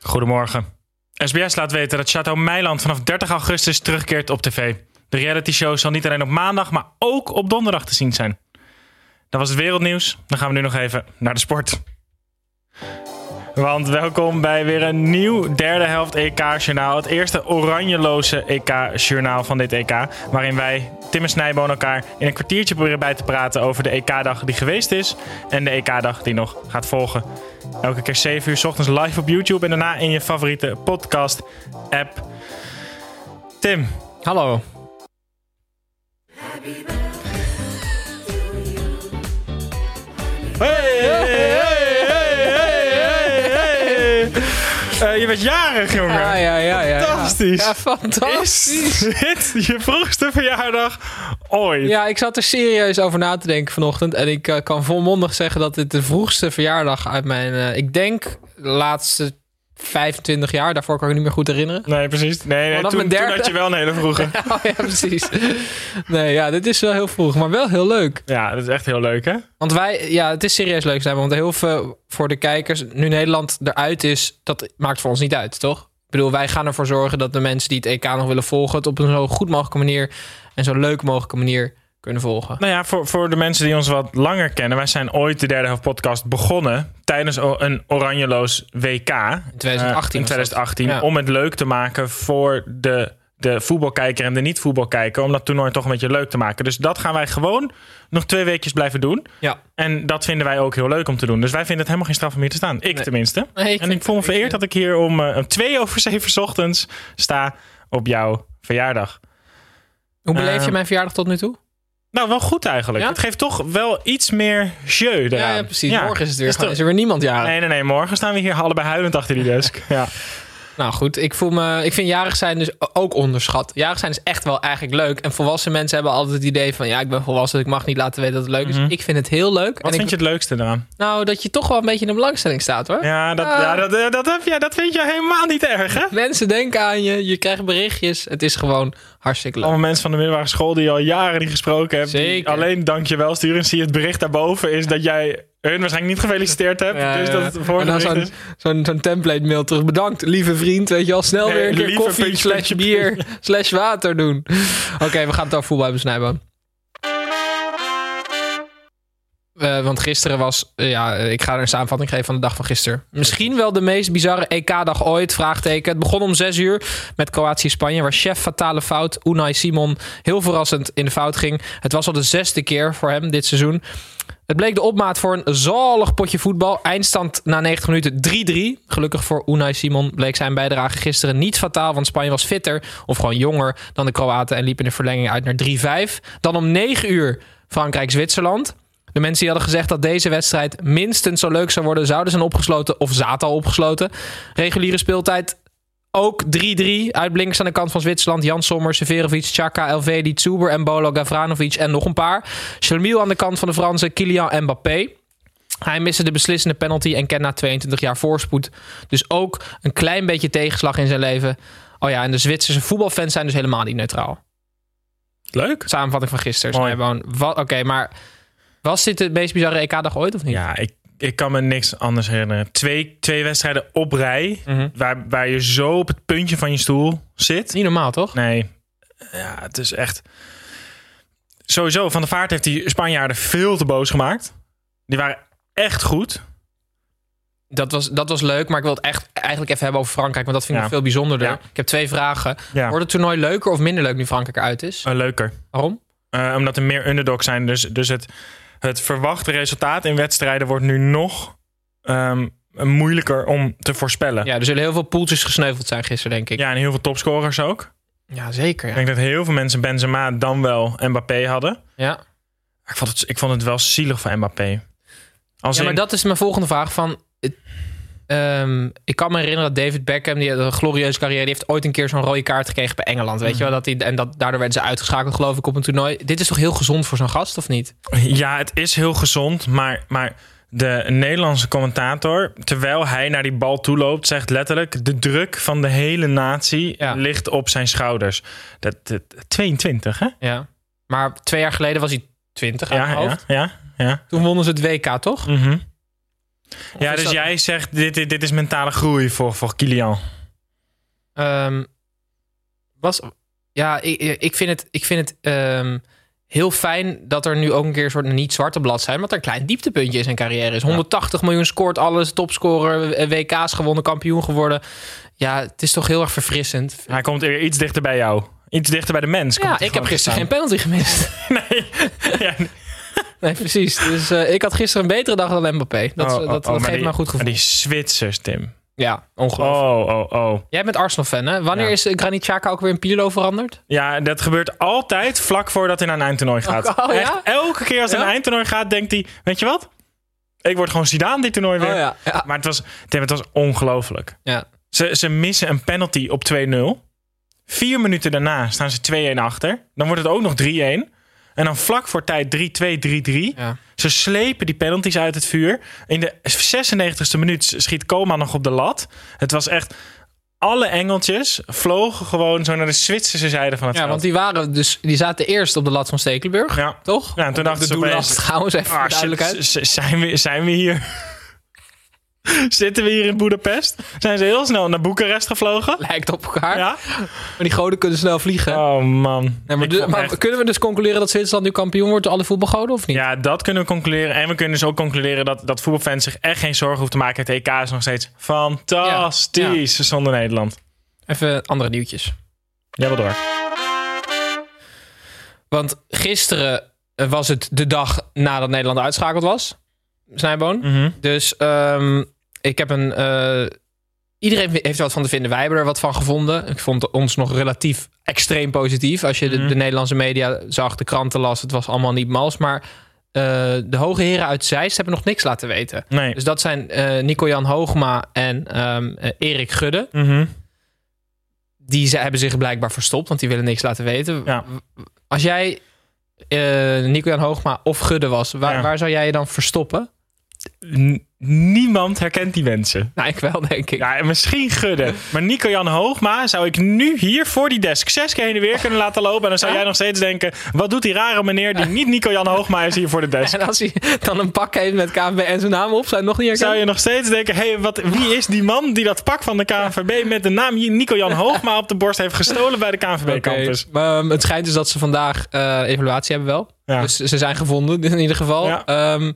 Goedemorgen. SBS laat weten dat Chateau Meiland vanaf 30 augustus terugkeert op tv. De reality show zal niet alleen op maandag, maar ook op donderdag te zien zijn. Dat was het wereldnieuws. Dan gaan we nu nog even naar de sport. Want welkom bij weer een nieuw derde helft EK-journaal. Het eerste oranjeloze EK-journaal van dit EK. Waarin wij, Tim en Snijboon, elkaar in een kwartiertje proberen bij te praten over de EK-dag die geweest is. En de EK-dag die nog gaat volgen. Elke keer 7 uur 's ochtends live op YouTube. En daarna in je favoriete podcast-app. Tim, Hallo. eh, je bent jarig, jongen. Ja, ja, ja. ja. Fantastisch. Ah, Ja, Is fantastisch. dit je vroegste verjaardag ooit? Ja, ik zat er serieus over na te denken vanochtend. En ik eh, kan volmondig zeggen dat dit de vroegste verjaardag uit mijn... eh, ik denk de laatste 25 jaar. Daarvoor kan ik me niet meer goed herinneren. Nee, precies. Nee, nee Vanaf toen, Oh, mijn toen derde. had je wel een hele vroege. Oh ja, precies. Nee, ja, dit is wel heel vroeg. Maar wel heel leuk. Ja, dat is echt heel leuk, hè? Want wij, ja, het is serieus leuk zijn. Want heel veel voor de kijkers, nu Nederland eruit is, dat maakt voor ons niet uit, toch? Ik bedoel, wij gaan ervoor zorgen dat de mensen die het EK nog willen volgen, het op een zo goed mogelijke manier en zo leuk mogelijke manier kunnen volgen. Nou ja, voor, voor de mensen die ons wat langer kennen, wij zijn ooit de derde helft podcast begonnen tijdens o- een oranjeloos WK. In 2018 was dat. in 2018. Ja. Om het leuk te maken voor de, de voetbalkijker en de niet-voetbalkijker. Om dat toernooi toch een beetje leuk te maken. Dus dat gaan wij gewoon nog twee weekjes blijven doen. Ja. En dat vinden wij ook heel leuk om te doen. Dus wij vinden het helemaal geen straf om hier te staan. Ik Nee. tenminste. Nee, ik en vind- ik voel me ik vereerd vind- dat ik hier om eh, om twee over zeven 's ochtends sta op jouw verjaardag. Hoe beleef Ehm, je mijn verjaardag tot nu toe? Nou, wel goed eigenlijk. Ja? Het geeft toch wel iets meer jeu eraan. Ja, ja, precies. Morgen is het weer. Dus toch- gewoon- is er weer niemand jarig. Nee, nee, nee. Morgen staan we hier allebei huilend achter die desk. ja. Nou goed, ik voel me. Ik vind jarig zijn dus ook onderschat. Jarig zijn is echt wel eigenlijk leuk. En volwassen mensen hebben altijd het idee van ja, ik ben volwassen, ik mag niet laten weten dat het leuk is. Ik Mhm. vind het heel leuk. Wat en vind ik, je het leukste eraan? Nou, dat je toch wel een beetje in de belangstelling staat hoor. Ja, dat, ja, dat, eh, dat, heb je, dat vind je helemaal niet erg, hè? Mensen denken aan je, je krijgt berichtjes. Het is gewoon hartstikke leuk. Allemaal mensen van de middelbare school die je al jaren niet gesproken hebt. die Zeker. alleen dankjewel sturen. En zie je het bericht daarboven is dat jij hun waarschijnlijk niet gefeliciteerd hebt. Ja, dus ja. dat het voor en dan zo'n zo'n- zo'n template mail terug. Bedankt, lieve vriend. Weet je al snel Nee, weer een keer lieve koffie, puntje, slash puntje, bier, slash water doen. Oké, we gaan het over voetbal hebben, Snijboon. Eh, want gisteren was, eh, ja, eh, ik ga er een samenvatting geven van de dag van gisteren. Misschien wel de meest bizarre EK-dag ooit, vraagteken. Het begon om 6 uur met Kroatië-Spanje, waar chef fatale fout Unai Simon heel verrassend in de fout ging. Het was al de zesde keer voor hem dit seizoen. Het bleek de opmaat voor een zalig potje voetbal. Eindstand na 90 minuten 3-3. Gelukkig voor Unai Simon bleek zijn bijdrage gisteren niet fataal. Want Spanje was fitter of gewoon jonger dan de Kroaten. En liep in de verlenging uit naar 3-5. Dan om 9 uur Frankrijk-Zwitserland. De mensen die hadden gezegd dat deze wedstrijd minstens zo leuk zou worden... zouden zijn opgesloten of zaten al opgesloten. Reguliere speeltijd ook 3-3. Uitblinkers aan de kant van Zwitserland. Jan Sommer, Severovic, Chaka, Elvedi, Zuber en Bolo Gavranovic. En nog een paar. Shermiel aan de kant van de Fransen. Kylian Mbappé. Hij miste de beslissende penalty en kent na 22 jaar voorspoed. Dus ook een klein beetje tegenslag in zijn leven. Oh ja, en de Zwitserse voetbalfans zijn dus helemaal niet neutraal. Leuk. Samenvatting van gisteren. Mooi. Snijboon. Wat- Oké, maar was dit de meest bizarre EK-dag ooit of niet? Ja, ik, ik kan me niks anders herinneren. Twee, twee wedstrijden op rij, Mhm. waar, waar je zo op het puntje van je stoel zit. Niet normaal, toch? Nee, ja, het is echt... sowieso, Van de Vaart heeft die Spanjaarden veel te boos gemaakt. Die waren echt goed. Dat was, dat was leuk, maar ik wil het echt eigenlijk even hebben over Frankrijk. Want dat vind ik Ja. nog veel bijzonderder. Ja. Ik heb twee vragen. Ja. Wordt het toernooi leuker of minder leuk nu Frankrijk eruit is? Eh, leuker. Waarom? Eh, omdat er meer underdogs zijn. Dus, dus het, het verwachte resultaat in wedstrijden wordt nu nog ehm, moeilijker om te voorspellen. Ja. Ja, er zullen heel veel poeltjes gesneuveld zijn gisteren, denk ik. en heel veel topscorers ook. Ja, zeker. Ik Ja. denk dat heel veel mensen Benzema dan wel Mbappé hadden. Ja. Maar Ik vond het, ik vond het wel zielig van Mbappé. Als ja, maar in- dat is mijn volgende vraag. Van, het- ehm, ik kan me herinneren dat David Beckham, die had een glorieuze carrière, die heeft ooit een keer zo'n rode kaart gekregen bij Engeland. Weet je Mhm. wel? Dat die, en dat, daardoor werden ze uitgeschakeld, geloof ik, op een toernooi. Dit is toch heel gezond voor zo'n gast, of niet? Ja, het is heel gezond, maar, maar de Nederlandse commentator, terwijl hij naar die bal toe loopt, zegt letterlijk: de druk van de hele natie Ja. ligt op zijn schouders. Dat, dat- 22, hè? Ja. Maar twee jaar geleden was hij 20 uit Ja, mijn ja, hoofd. ja. ja. Toen wonnen ze het WK, toch? Mhm. Ja, is dus dat- jij zegt: dit, dit, dit is mentale groei voor, voor Kilian. Ehm, was, ja, ik, ik vind het, ik vind het ehm, heel fijn dat er nu ook een keer een soort niet-zwarte blad zijn. Want er een klein dieptepuntje in zijn carrière is. 180 miljoen scoort alles, topscorer, eh, WK's gewonnen, kampioen geworden. Ja, het is toch heel erg verfrissend. Hij komt weer iets dichter bij jou. Iets dichter bij de mens. komt Ja, hij ik heb gewoon te gisteren geen penalty gemist. staan. Ja, Nee, precies. Dus eh, ik had gisteren een betere dag dan Mbappé. Dat, is- Oh, oh, dat, dat oh, maar geeft die- me een goed gevoel. maar Die Zwitsers, Tim. Ja, ongelooflijk. Oh, oh, oh. Jij bent Arsenal-fan, hè? Wanneer Ja. is eh, Granit Xhaka ook weer in Pirlo veranderd? Ja, dat gebeurt altijd vlak voordat hij naar een eindtoernooi gaat. Oh, ja? Echt, elke keer als hij Ja? naar een eindtoernooi gaat, denkt hij... Weet je wat? Ik word gewoon Zidane dit toernooi weer. Oh, ja. ja. Maar het was, Tim, het was ongelooflijk. ja. Ze, ze missen een penalty op 2-0. Vier minuten daarna staan ze 2-1 achter. Dan wordt het ook nog 3-1. En dan vlak voor tijd 3-2, 3-3. Ja. Ze slepen die penalties uit het vuur. In de 96e minuut schiet Koeman nog op de lat. Het was echt... Alle engeltjes vlogen gewoon zo naar de Zwitserse zijde van het Ja, veld. want die, waren dus, die zaten eerst op de lat van Stekelenburg, Ja. toch? Ja, en toen Op dachten de ze doellast opeens- trouwens, even voor Ah, duidelijkheid. zit- z- zijn, we, zijn we hier? Zitten we hier in Boedapest? Zijn ze heel snel naar Boekarest gevlogen? Lijkt op elkaar, Ja? maar die goden kunnen snel vliegen. Oh man. Nee, maar Ik de- vond maar echt- kunnen we dus concluderen dat Zwitserland nu kampioen wordt door alle voetbalgoden of niet? Ja, dat kunnen we concluderen. En we kunnen dus ook concluderen dat, dat voetbalfans zich echt geen zorgen hoeven te maken. Het EK is nog steeds fantastisch zonder Nederland. Even andere nieuwtjes. Jij wil door. Want gisteren eh, was het de dag nadat Nederland uitschakeld was, Snijboon. Mhm. Dus ehm, ik heb een. eh, iedereen heeft er wat van te vinden. Wij hebben er wat van gevonden. Ik vond ons nog relatief extreem positief. Als je de, Mhm. de Nederlandse media zag, de kranten las, het was allemaal niet mals. Maar eh, de hoge heren uit Zeist hebben nog niks laten weten. Nee. Dus dat zijn eh Nico-Jan Hoogma en ehm, eh, Erik Gudde. Mhm. Die ze, hebben zich blijkbaar verstopt, want die willen niks laten weten. Ja. Als jij eh, Nico-Jan Hoogma of Gudde was, waar, Ja. waar zou jij je dan verstoppen? N- niemand herkent die mensen. Nou, ik wel, denk ik. Ja, en misschien Gudde. Maar Nico-Jan Hoogma zou ik nu hier voor die desk zes keer heen en weer kunnen laten lopen. En dan zou jij nog steeds denken, wat doet die rare meneer die niet Nico-Jan Hoogma is hier voor de desk? En als hij dan een pak heeft met KNVB en zijn naam op, zou hij nog Zou niet herkennen? je nog steeds denken, hey, wat, wie is die man die dat pak van de KNVB met de naam Nico-Jan Hoogma op de borst heeft gestolen bij de KNVB-campus? Maar, ehm, het schijnt dus dat ze vandaag eh, evaluatie hebben wel. Ja. Dus ze zijn gevonden in ieder geval. Ja. Ehm,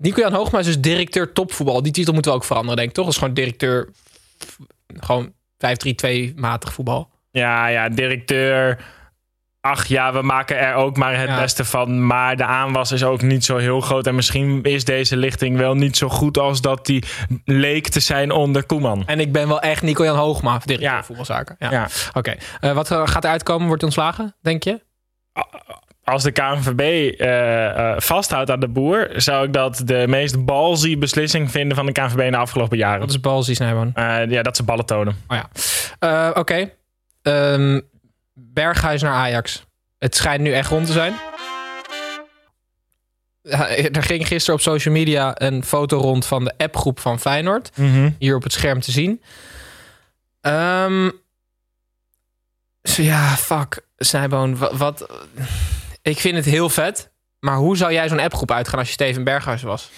Nico-Jan Hoogma is dus directeur topvoetbal. Die titel moeten we ook veranderen, denk ik, toch? Dat is gewoon directeur, f- gewoon 5-3-2-matig voetbal. Ja, ja, directeur. Ach ja, we maken er ook maar het Ja. beste van. Maar de aanwas is ook niet zo heel groot. En misschien is deze lichting wel niet zo goed als dat die leek te zijn onder Koeman. En ik ben wel echt Nico-Jan Hoogma, directeur Ja. voetbalzaken. Ja. Ja. Oké, Eh, wat eh, gaat er uitkomen? Wordt hij ontslagen, denk je? Als de KNVB eh, eh, vasthoudt aan de boer, zou ik dat de meest balzie beslissing vinden van de KNVB in de afgelopen jaren. Wat is Balzi Snijboon? Eh, ja, dat ze ballen tonen. Oh ja. Eh, Oké. Ehm, Berghuis naar Ajax. Het schijnt nu echt rond te zijn. Ja, Er ging gisteren op social media een foto rond van de appgroep van Feyenoord. Hier op het scherm te zien. Ehm, zo ja, fuck. Snijboon, wa- wat... Ik vind het heel vet. Maar hoe zou jij zo'n appgroep uitgaan als je Steven Berghuis was?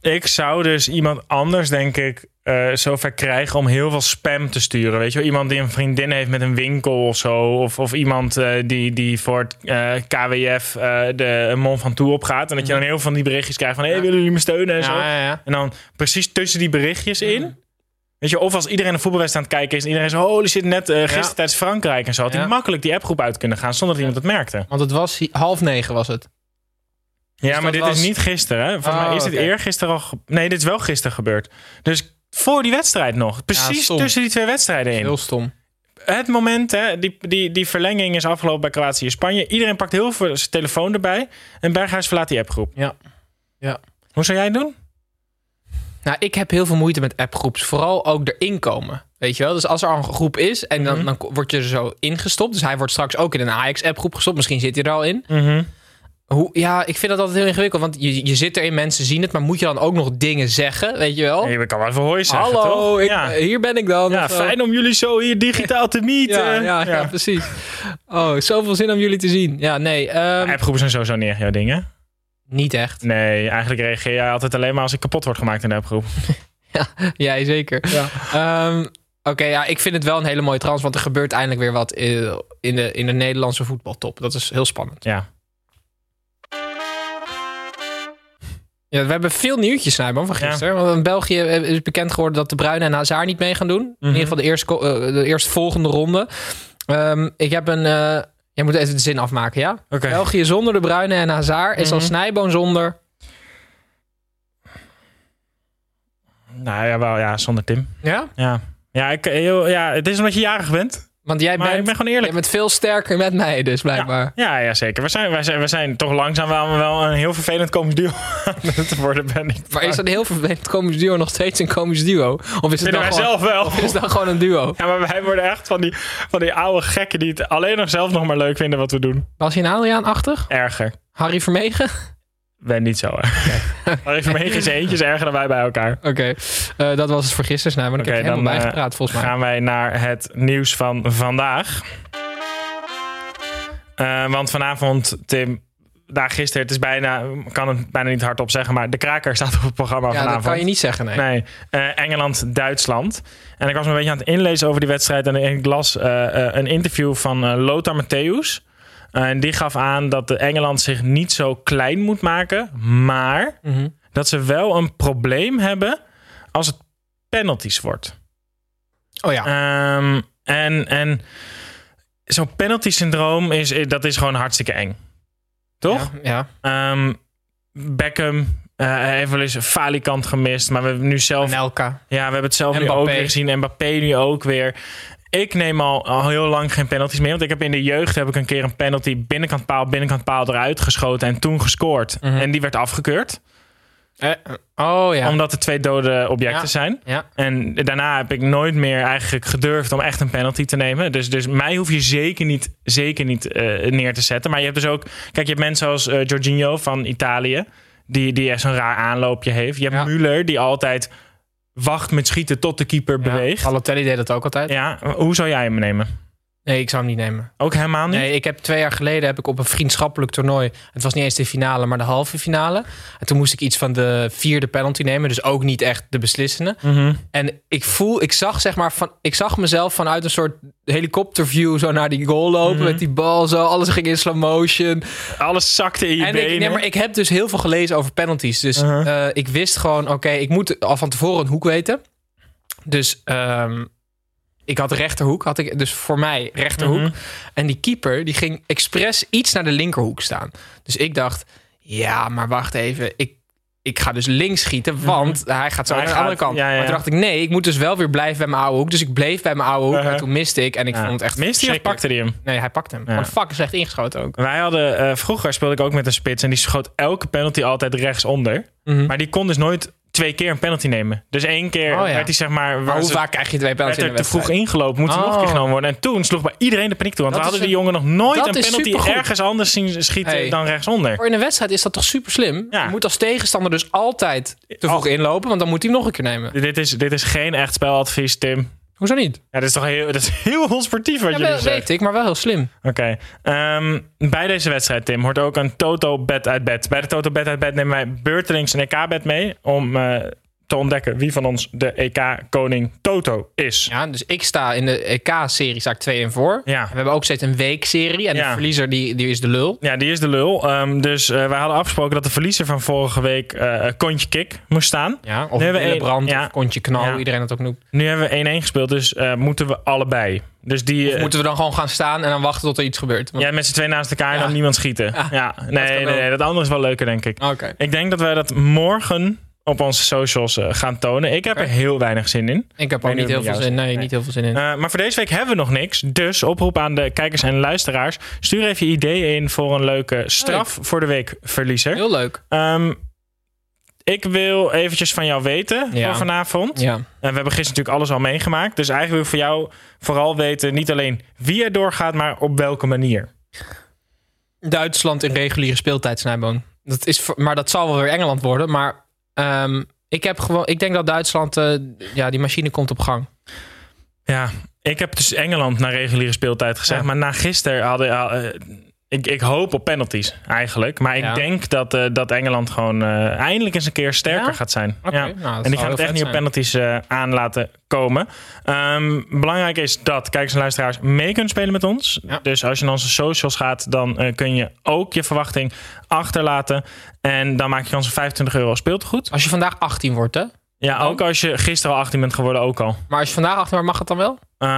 Ik zou dus iemand anders, denk ik, eh, eh, zover krijgen om heel veel spam te sturen. Weet je wel, iemand die een vriendin heeft met een winkel of zo. Of, of iemand eh, die, die voor het eh, KWF eh, de Mon van Toe opgaat. En dat je dan heel veel van die berichtjes krijgt van... Hé, hey, willen jullie me steunen en zo? Mm. Ja, Mm. ja, ja. En dan precies tussen die berichtjes in. Weet je, of als iedereen een voetbalwedstrijd aan het kijken is... en iedereen zo, holy shit, net eh gisteren Ja. tijdens Frankrijk en zo... had hij Ja. makkelijk die appgroep uit kunnen gaan zonder dat iemand het merkte. Want het was hi- half negen was het. Ja, maar Dus dat dit is was- niet gisteren. Hè? Volgens Oh, mij is dit oké. eergisteren al... ge- Nee, dit is wel gisteren gebeurd. Dus voor die wedstrijd nog. Precies stom. tussen die twee wedstrijden in. Heel stom. Het moment, hè, die, die, die verlenging is afgelopen bij Kroatië en Spanje. Iedereen pakt heel veel zijn telefoon erbij. En Berghuis verlaat die appgroep. Ja. Ja. Hoe zou jij het doen? Nou, ik heb heel veel moeite met appgroeps. Vooral ook erin komen. Weet je wel? Dus als er al een groep is en Mhm. dan, dan word je er zo ingestopt. Dus hij wordt straks ook in een Ajax-appgroep gestopt. Misschien zit hij er al in. Mhm. Hoe, ja, ik vind dat altijd heel ingewikkeld. Want je, je zit erin, mensen zien het. Maar moet je dan ook nog dingen zeggen? Weet je wel? Nee, ik kan wel even hooi zeggen, Oh. Hallo, toch? ik- ja. hier ben ik dan. ja, of zo. fijn om jullie zo hier digitaal te meeten. Ja, ja, ja, precies. Oh, zoveel zin om jullie te zien. Ja, nee, ehm, Appgroepen zijn sowieso niet echt jouw dingen. niet echt. Nee, eigenlijk reageer jij altijd alleen maar als ik kapot word gemaakt in de appgroep. Jij zeker. Ja. Ehm, Oké, ja, ik vind het wel een hele mooie trans, want er gebeurt eindelijk weer wat eh, in de, in de Nederlandse voetbaltop. Dat is heel spannend. Ja. Ja, we hebben veel nieuwtjes, Snijman, van gisteren. Want in België eh, is bekend geworden dat de Bruyne en Hazard niet mee gaan doen. Mhm. In ieder geval de, eerste, ko- eh, de eerstvolgende ronde. Ehm, ik heb een... eh, jij moet even de zin afmaken, ja? Oké. Mhm. België zonder de Bruyne en Hazard is als Snijboon zonder... Nou ja, wel, ja, zonder Tim. Ja? Ja. Ja, ik, eh, heel, ja, het is omdat je jarig bent. Want jij Maar bent, ik ben gewoon eerlijk. jij bent veel sterker met mij dus, Ja, blijkbaar. ja, ja, zeker. We zijn, wij, zijn, we zijn toch langzaam wel, wel een heel vervelend komisch duo aan het worden, ben ik. Maar is dat een heel vervelend komisch duo nog steeds een komisch duo? Of is het, Vinden dan wij gewoon, zelf wel. is het dan gewoon een duo? Ja, maar wij worden echt van die, van die oude gekken die het alleen nog zelf nog maar leuk vinden wat we doen. Was je een Adriaan-achtig? Erger. Harry Vermegen? Ben niet zo erg. Maar even mee eens eentje is erger dan wij bij elkaar. Oké, eh, dat was het voor gisteren. Nou, maar ik Oké, heb helemaal dan, eh, bijgepraat volgens mij. Gaan wij naar het nieuws van vandaag. Eh, want vanavond, Tim, daar gisteren, het is bijna, ik kan het bijna niet hardop zeggen, maar de kraker staat op het programma Ja, dat vanavond. kan je niet zeggen, nee. Nee, eh, Engeland-Duitsland. En ik was me een beetje aan het inlezen over die wedstrijd. En ik las eh, eh, een interview van eh, Lothar Matthäus. Eh, en die gaf aan dat de Engeland zich niet zo klein moet maken. Maar Mhm. dat ze wel een probleem hebben als het penalties wordt. Oh ja. Ehm, en en zo'n penalty-syndroom, is, eh, dat is gewoon hartstikke eng. Toch? Ja, ja. Ehm, Beckham eh, heeft wel eens Falikant gemist. Maar we hebben nu zelf Nelka. ja, we hebben het zelf nu Mbappé. ook weer gezien. En Mbappé nu ook weer. Ik neem al, al heel lang geen penalties meer. Want ik heb in de jeugd heb ik een keer een penalty binnenkant paal, binnenkant paal eruit geschoten. En toen gescoord. En die werd afgekeurd. oh Mhm. ja. Omdat er twee dode objecten Ja. zijn. ja. En daarna heb ik nooit meer eigenlijk gedurfd om echt een penalty te nemen. Dus, dus mij hoef je zeker niet, zeker niet eh, neer te zetten. Maar je hebt dus ook... Kijk, je hebt mensen als eh Jorginho van Italië. Die, die echt zo'n raar aanloopje heeft. Je hebt Ja. Müller die altijd wacht met schieten tot de keeper beweegt. Ja, Balotelli deed dat ook altijd. Ja, hoe zou jij hem nemen? Nee, ik zou hem niet nemen. Ook helemaal niet? Nee, ik heb twee jaar geleden heb ik op een vriendschappelijk toernooi. Het was niet eens de finale, maar de halve finale. En toen moest ik iets van de vierde penalty nemen. Dus ook niet echt de beslissende. En ik voel, ik zag zeg maar van, ik zag mezelf vanuit een soort helikopterview zo naar die goal lopen. Met die bal zo. Alles ging in slow motion. Alles zakte in je En benen. ik, nee, maar ik heb dus heel veel gelezen over penalties. Dus Uh-huh. eh, ik wist gewoon, oké, ik moet al van tevoren een hoek weten. Dus ehm, ik had rechterhoek, had ik dus voor mij rechterhoek. Mhm. En die keeper, die ging expres iets naar de linkerhoek staan. Dus ik dacht, ja, maar wacht even, ik, ik ga dus links schieten, want hij gaat zo Mhm. Hij naar de gaat- andere kant. ja, ja. Maar toen dacht ik, nee, ik moet dus wel weer blijven bij mijn oude hoek. Dus ik bleef bij mijn oude hoek, Uh-huh. maar toen miste ik. En ik Ja. vond het echt Mist hij of verschrikkelijk. pakte hij hem? Nee, hij pakte hem. Ja. Want fuck, is echt ingeschoten ook. Wij hadden, eh, vroeger speelde ik ook met een spits en die schoot elke penalty altijd rechtsonder. Maar die kon dus nooit twee keer een penalty nemen. Dus één keer Mhm. Oh, ja. werd hij zeg maar... Maar waar hoe ze- vaak krijg je twee werd penalties in er de te vroeg wedstrijd? ingelopen, moet er nog een keer Oh. genomen worden. En toen sloeg bij iedereen de paniek toe. Want Dat we is hadden die een- jongen nog nooit dat een is penalty supergoed. ergens anders zien schieten Hey. dan rechtsonder. Voor in een wedstrijd is dat toch super slim? Ja. Je moet als tegenstander dus altijd te vroeg inlopen, want dan moet hij hem nog een keer nemen. Dit is, dit is geen echt speladvies, Tim. Hoezo niet? Ja, dus, eh, dit is toch heel, dat is heel onsportief wat Ja, jullie wel, zeggen. weet ik, maar wel heel slim. Oké. Ehm, bij deze wedstrijd, Tim, hoort E ook een Toto-bed uit bed. Bij de Toto-bed uit bed nemen wij beurtelings een EK-bed mee. Om eh, te ontdekken wie van ons de EK-koning Toto is. Ja, dus ik sta in de EK-serie, sta ik 2 en voor. Ja. We hebben ook steeds een weekserie. En Ja. de verliezer die, die is de lul. Ja, die is de lul. Ehm, dus eh, wij hadden afgesproken dat de verliezer van vorige week eh Kontje Kik moest staan. Ja, of Nu hebben we één- brand, ja. of kontje knal, Ja. hoe iedereen dat ook noemt. Nu hebben we 1-1 gespeeld, dus eh, moeten we allebei. Dus die, eh, Moeten we dan gewoon gaan staan en dan wachten tot er iets gebeurt? Want- ja, met z'n twee naast elkaar en Ja. dan niemand schieten. Ja. Ja, Nee, kan Oh, nee, wel. nee, dat andere is wel leuker, denk ik. Oké. Ik denk dat wij dat morgen op onze socials eh, gaan tonen. Ik heb er heel weinig zin in. Ik heb weet niet ook niet heel of het veel jou zin. Nee, niet heel veel zin in. Eh, maar voor deze week hebben we nog niks. Dus oproep aan de kijkers en luisteraars. Stuur even je ideeën in voor een leuke straf voor de week verliezer. Heel leuk. Ehm, ik wil eventjes van jou weten Ja. voor vanavond. Ja. En we hebben gisteren natuurlijk alles al meegemaakt. Dus eigenlijk wil ik voor jou vooral weten, niet alleen wie er doorgaat, maar op welke manier. Duitsland in reguliere speeltijd, Snijboon. Dat is, voor- maar dat zal wel weer Engeland worden. Maar ehm, ik, heb gewoon, ik denk dat Duitsland... eh, ja, die machine komt op gang. Ja, ik heb dus Engeland naar reguliere speeltijd gezegd. Ja. Maar na gisteren hadden... eh, ik, ik hoop op penalties eigenlijk. Maar ik Ja. denk dat, eh, dat Engeland gewoon eh, eindelijk eens een keer sterker Ja? gaat zijn. Oké, Ja. nou, dat zou en die heel gaan het echt vet niet op zijn. penalties eh, aan laten komen. Ehm, belangrijk is dat kijkers en luisteraars mee kunnen spelen met ons. Ja. Dus als je naar onze socials gaat, dan eh, kun je ook je verwachting achterlaten. En dan maak je kans op 25 euro speelgoed. Als je vandaag 18 wordt, hè? Ja, ook als je gisteren al 18 bent geworden, ook al. Maar als je vandaag 18 wordt, mag het dan wel? Eh,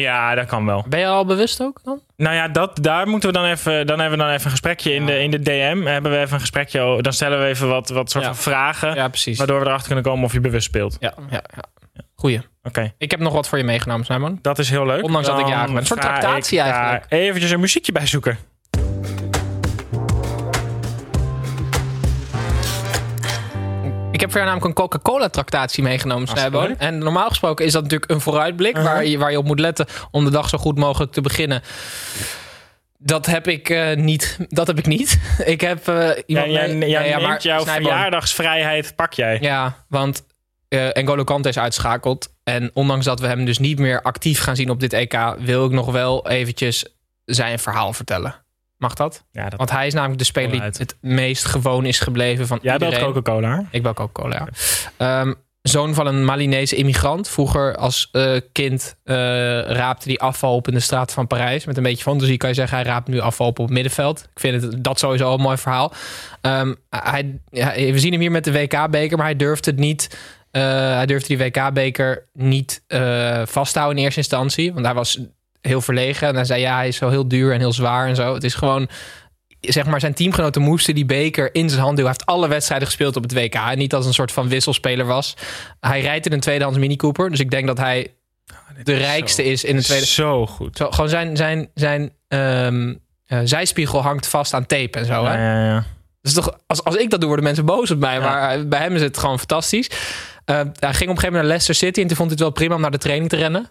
ja, dat kan wel. Ben je al bewust ook dan? Nou ja, dat, daar moeten we dan even. Dan hebben we dan even een gesprekje in, de, in de DM. Hebben we even een gesprekje. oh, Dan stellen we even wat, wat soort Ja. van vragen. Ja, precies. Waardoor we erachter kunnen komen of je bewust speelt. Oké, Ja, ja, ja. Goeie. Ik heb nog wat voor je meegenomen, Snijboon. dat is heel leuk. Ondanks dat ik Dan jarig ben. Een soort ga tractatie ik daar eigenlijk. Eventjes een muziekje bij zoeken. Ik heb voor jou namelijk een Coca-Cola-tractatie meegenomen, Snijboon. Alsjeblieft. En normaal gesproken is dat natuurlijk een vooruitblik... Uh-huh. waar, je, waar je op moet letten om de dag zo goed mogelijk te beginnen... Dat heb ik eh, niet. Dat heb ik niet. Ik heb eh, Ja, iemand. jij mee- jij Nee, ja, neemt maar jouw Snijboon- verjaardagsvrijheid. Pak jij. Ja, want eh N'Golo Kante is uitschakeld. En ondanks dat we hem dus niet meer actief gaan zien op dit EK... wil ik nog wel eventjes zijn verhaal vertellen. Mag dat? Ja, dat, Want hij is namelijk de speler die Voluit. het meest gewoon is gebleven van jij belt iedereen. Coca-Cola. hè? Ik ben ook cola, ja. Ehm, zoon van een Malinese immigrant. Vroeger als eh, kind eh, raapte hij afval op in de straat van Parijs. Met een beetje fantasie kan je zeggen, hij raapt nu afval op op het middenveld. Ik vind het, dat sowieso al een mooi verhaal. Ehm, hij, hij- we zien hem hier met de WK-beker, maar hij durft het niet... eh, hij durfde die WK-beker niet eh vasthouden in eerste instantie. Want hij was heel verlegen. En hij zei, ja, hij is zo heel duur en heel zwaar en zo. Het is gewoon zeg maar, zijn teamgenoten moesten die beker in zijn hand duwen. Hij heeft alle wedstrijden gespeeld op het WK. En niet als een soort van wisselspeler was. Hij rijdt in een tweedehands Mini Cooper. Dus ik denk dat hij de rijkste is in een tweede. Zo goed. Zo, gewoon zijn, zijn, zijn ehm, eh, zijspiegel hangt vast aan tape en zo. Hè? Ja, ja, ja. Dus toch, als, als ik dat doe, worden mensen boos op mij. Ja. Maar eh, bij hem is het gewoon fantastisch. Eh, hij ging op een gegeven moment naar Leicester City en toen vond hij het wel prima om naar de training te rennen.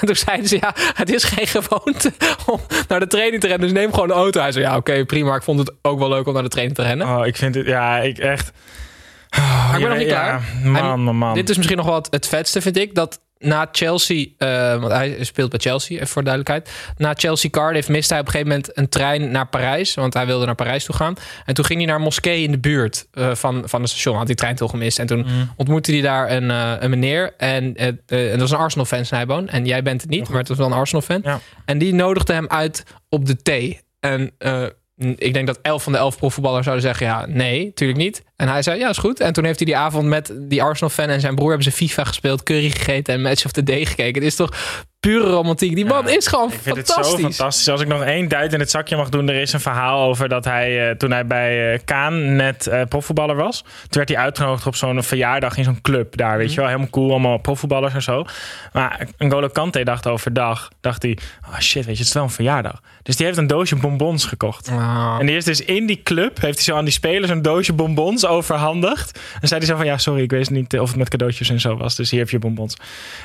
Toen zeiden ze, ja, het is geen gewoonte om naar de training te rennen. Dus neem gewoon de auto. Hij zei, ja, oké, prima. Ik vond het ook wel leuk om naar de training te rennen. Oh, ik vind het. Ja, ik echt. maar Oh, ik ben nog niet Oh, Ja, klaar. Hij- Man, man, man. Dit is misschien nog wel het, het vetste, vind ik. Dat na Chelsea, eh, want hij speelt bij Chelsea, even voor de duidelijkheid. Na Chelsea Cardiff miste hij op een gegeven moment een trein naar Parijs. Want hij wilde naar Parijs toe gaan. En toen ging hij naar een moskee in de buurt eh, van, van het station. Had die trein toch gemist. En toen Mm. ontmoette hij daar een, eh, een meneer. En eh, eh, en dat was een Arsenal-fan, Snijboon. En jij bent het niet, maar het was wel een Arsenal-fan. Ja. En die nodigde hem uit op de thee. En eh, ik denk dat elf van de elf profvoetballers zouden zeggen... ja, nee, natuurlijk niet. En hij zei, ja, is goed. En toen heeft hij die avond met die Arsenal-fan en zijn broer... hebben ze FIFA gespeeld, curry gegeten en Match of the Day gekeken. Het is toch pure romantiek. Die man is gewoon Ik vind het zo fantastisch. fantastisch. Als ik nog één duit in het zakje mag doen, er is een verhaal over dat hij eh, toen hij bij eh Kaan net eh, profvoetballer was, toen werd hij uitgenodigd op zo'n verjaardag in zo'n club daar, Mhm. weet je wel, helemaal cool, allemaal profvoetballers en zo. Maar N'Golo Kante dacht overdag, dacht hij, ah shit, weet je, het is wel een verjaardag. Dus die heeft een doosje bonbons gekocht. Ah. En die is dus in die club, heeft hij zo aan die spelers een doosje bonbons overhandigd. En zei hij zo van, ja, sorry, ik wist niet eh, of het met cadeautjes en zo was. Dus hier heb je bonbons.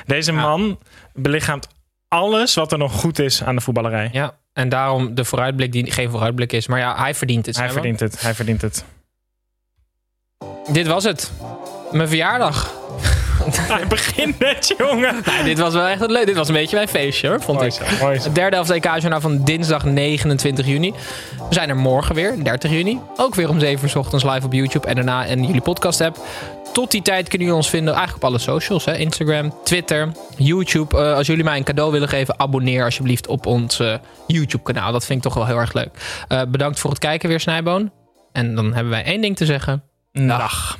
Deze man belichaamt alles wat er nog goed is aan de voetballerij. Ja, en daarom de vooruitblik die geen vooruitblik is. Maar ja, hij verdient het. hij Simon. verdient het, hij verdient het. Dit was het. Mijn verjaardag. Hij begint net, jongen. Nou, dit was wel echt een leuk. Dit was een beetje mijn feestje hoor, vond Mooi ik. zo, mooi zo. Het derde E helft EK journaal nou van dinsdag 29 juni. We zijn er morgen weer, 30 juni. Ook weer om 7 uur 's ochtends live op YouTube en daarna in jullie podcast app. Tot die tijd kunnen jullie ons vinden eigenlijk op alle socials. Hè? Instagram, Twitter, YouTube. Eh, als jullie mij een cadeau willen geven, abonneer alsjeblieft op ons eh, YouTube kanaal. Dat vind ik toch wel heel erg leuk. Eh, bedankt voor het kijken weer, Snijboon. En dan hebben wij één ding te zeggen. Dag.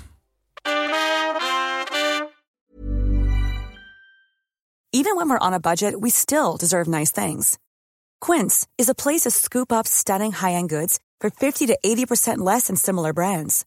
even when we're on a budget, we still deserve nice things. Quince is a place to scoop up stunning high-end goods for 50 to 80% less than similar brands.